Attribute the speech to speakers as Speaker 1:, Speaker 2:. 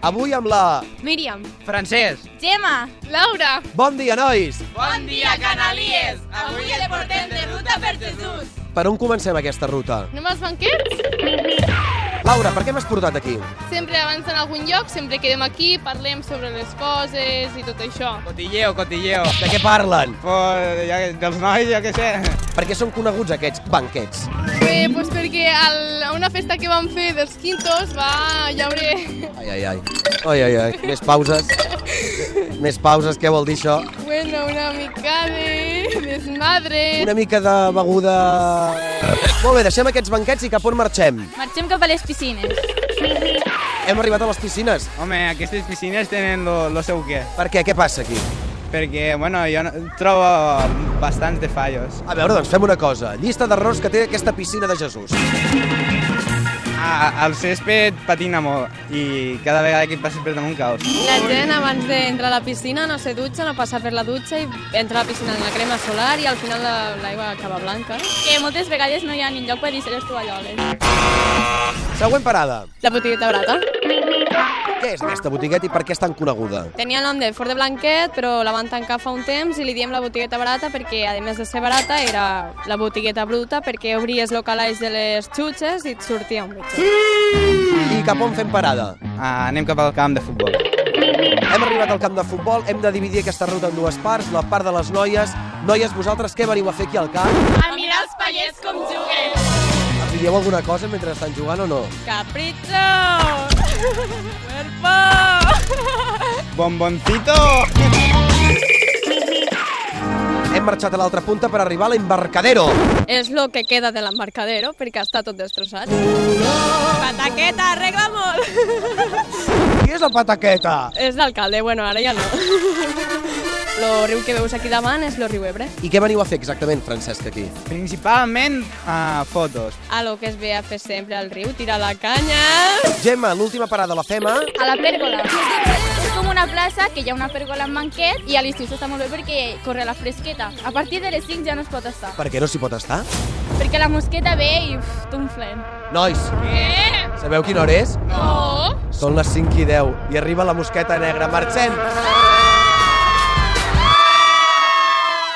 Speaker 1: Avui amb la...
Speaker 2: Míriam,
Speaker 3: Francesc.
Speaker 2: Gemma, Laura.
Speaker 1: Bon dia, nois!
Speaker 3: Bon dia, Canalies! Avui el portem de ruta per Jesús.
Speaker 1: Per on comencem aquesta ruta?
Speaker 2: Anem als banquets?
Speaker 1: Laura, per què m'has portat aquí?
Speaker 2: Sempre abans en algun lloc, sempre quedem aquí, parlem sobre les coses i tot això.
Speaker 3: Cotilleo, cotilleo.
Speaker 1: De què parlen?
Speaker 3: Pues, ja, dels nois, jo què sé.
Speaker 1: Per què són coneguts aquests banquets?
Speaker 2: Bé, doncs perquè al, a una festa que vam fer dels quintos va llaure...
Speaker 1: Ai, ai, ai. Ai, ai, ai. Més pauses. Més pauses, què vol dir això?
Speaker 2: Bueno, una mica de desmadre.
Speaker 1: Una mica de beguda... Molt bé, deixem aquests banquets i cap on marxem.
Speaker 4: Marxem cap a les piscines.
Speaker 1: Hem arribat a les piscines.
Speaker 3: Home, aquestes piscines tenen lo, lo seu què.
Speaker 1: Per què? Què passa aquí?
Speaker 3: Perquè, bueno, jo no, trobo bastants de fallos.
Speaker 1: A veure, doncs fem una cosa. Llista d'errors que té aquesta piscina de Jesús.
Speaker 3: A, el césped patina molt i cada vegada que passes per damunt caus.
Speaker 5: La gent abans d'entrar a la piscina no se dutxa, no passa per la dutxa i entra a la piscina amb la crema solar i al final la- l'aigua acaba blanca.
Speaker 4: Que moltes vegades no hi ha ni lloc per deixar les tovalloles.
Speaker 1: Següent parada.
Speaker 5: La botigueta barata.
Speaker 1: Què és aquesta botigueta i per què és tan coneguda?
Speaker 5: Tenia el nom de Fort de Blanquet, però la van tancar fa un temps i li diem la botigueta barata perquè, a més de ser barata, era la botigueta bruta perquè obries el calaix de les xutxes i et sortia un bitxo.
Speaker 1: I cap on fem parada?
Speaker 3: Ah, anem cap al camp de futbol.
Speaker 1: Hem arribat al camp de futbol, hem de dividir aquesta ruta en dues parts, la part de les noies. Noies, vosaltres què veniu a fer aquí al camp?
Speaker 4: A mirar els pallets com juguen.
Speaker 1: Els hi dieu alguna cosa mentre estan jugant o no?
Speaker 5: Capritxo! Cuerpo!
Speaker 3: Bomboncito!
Speaker 1: Hem marxat a l'altra punta per arribar a l'embarcadero.
Speaker 5: És lo que queda de l'embarcadero perquè està tot destrossat. Pataqueta, arregla molt!
Speaker 1: Qui és la pataqueta?
Speaker 5: És l'alcalde, bueno, ara ja no. Lo riu que veus aquí davant és lo riu Ebre.
Speaker 1: I què veniu a fer exactament, Francesc, aquí?
Speaker 3: Principalment ah, fotos.
Speaker 5: A lo que es ve a fer sempre al riu, tirar la canya...
Speaker 1: Gemma, l'última parada la fem a...
Speaker 4: A la pèrgola. És com una plaça que hi ha una pèrgola amb banquet i a l'estiu s'està molt bé perquè corre la fresqueta. A partir de les 5 ja no es pot estar.
Speaker 1: Per què no s'hi pot estar?
Speaker 4: Perquè la mosqueta ve i uf, t'unflem.
Speaker 1: Nois,
Speaker 2: Eh?
Speaker 1: sabeu quina hora és?
Speaker 2: No.
Speaker 1: Són les 5 i 10 i arriba la mosqueta negra. Marxem!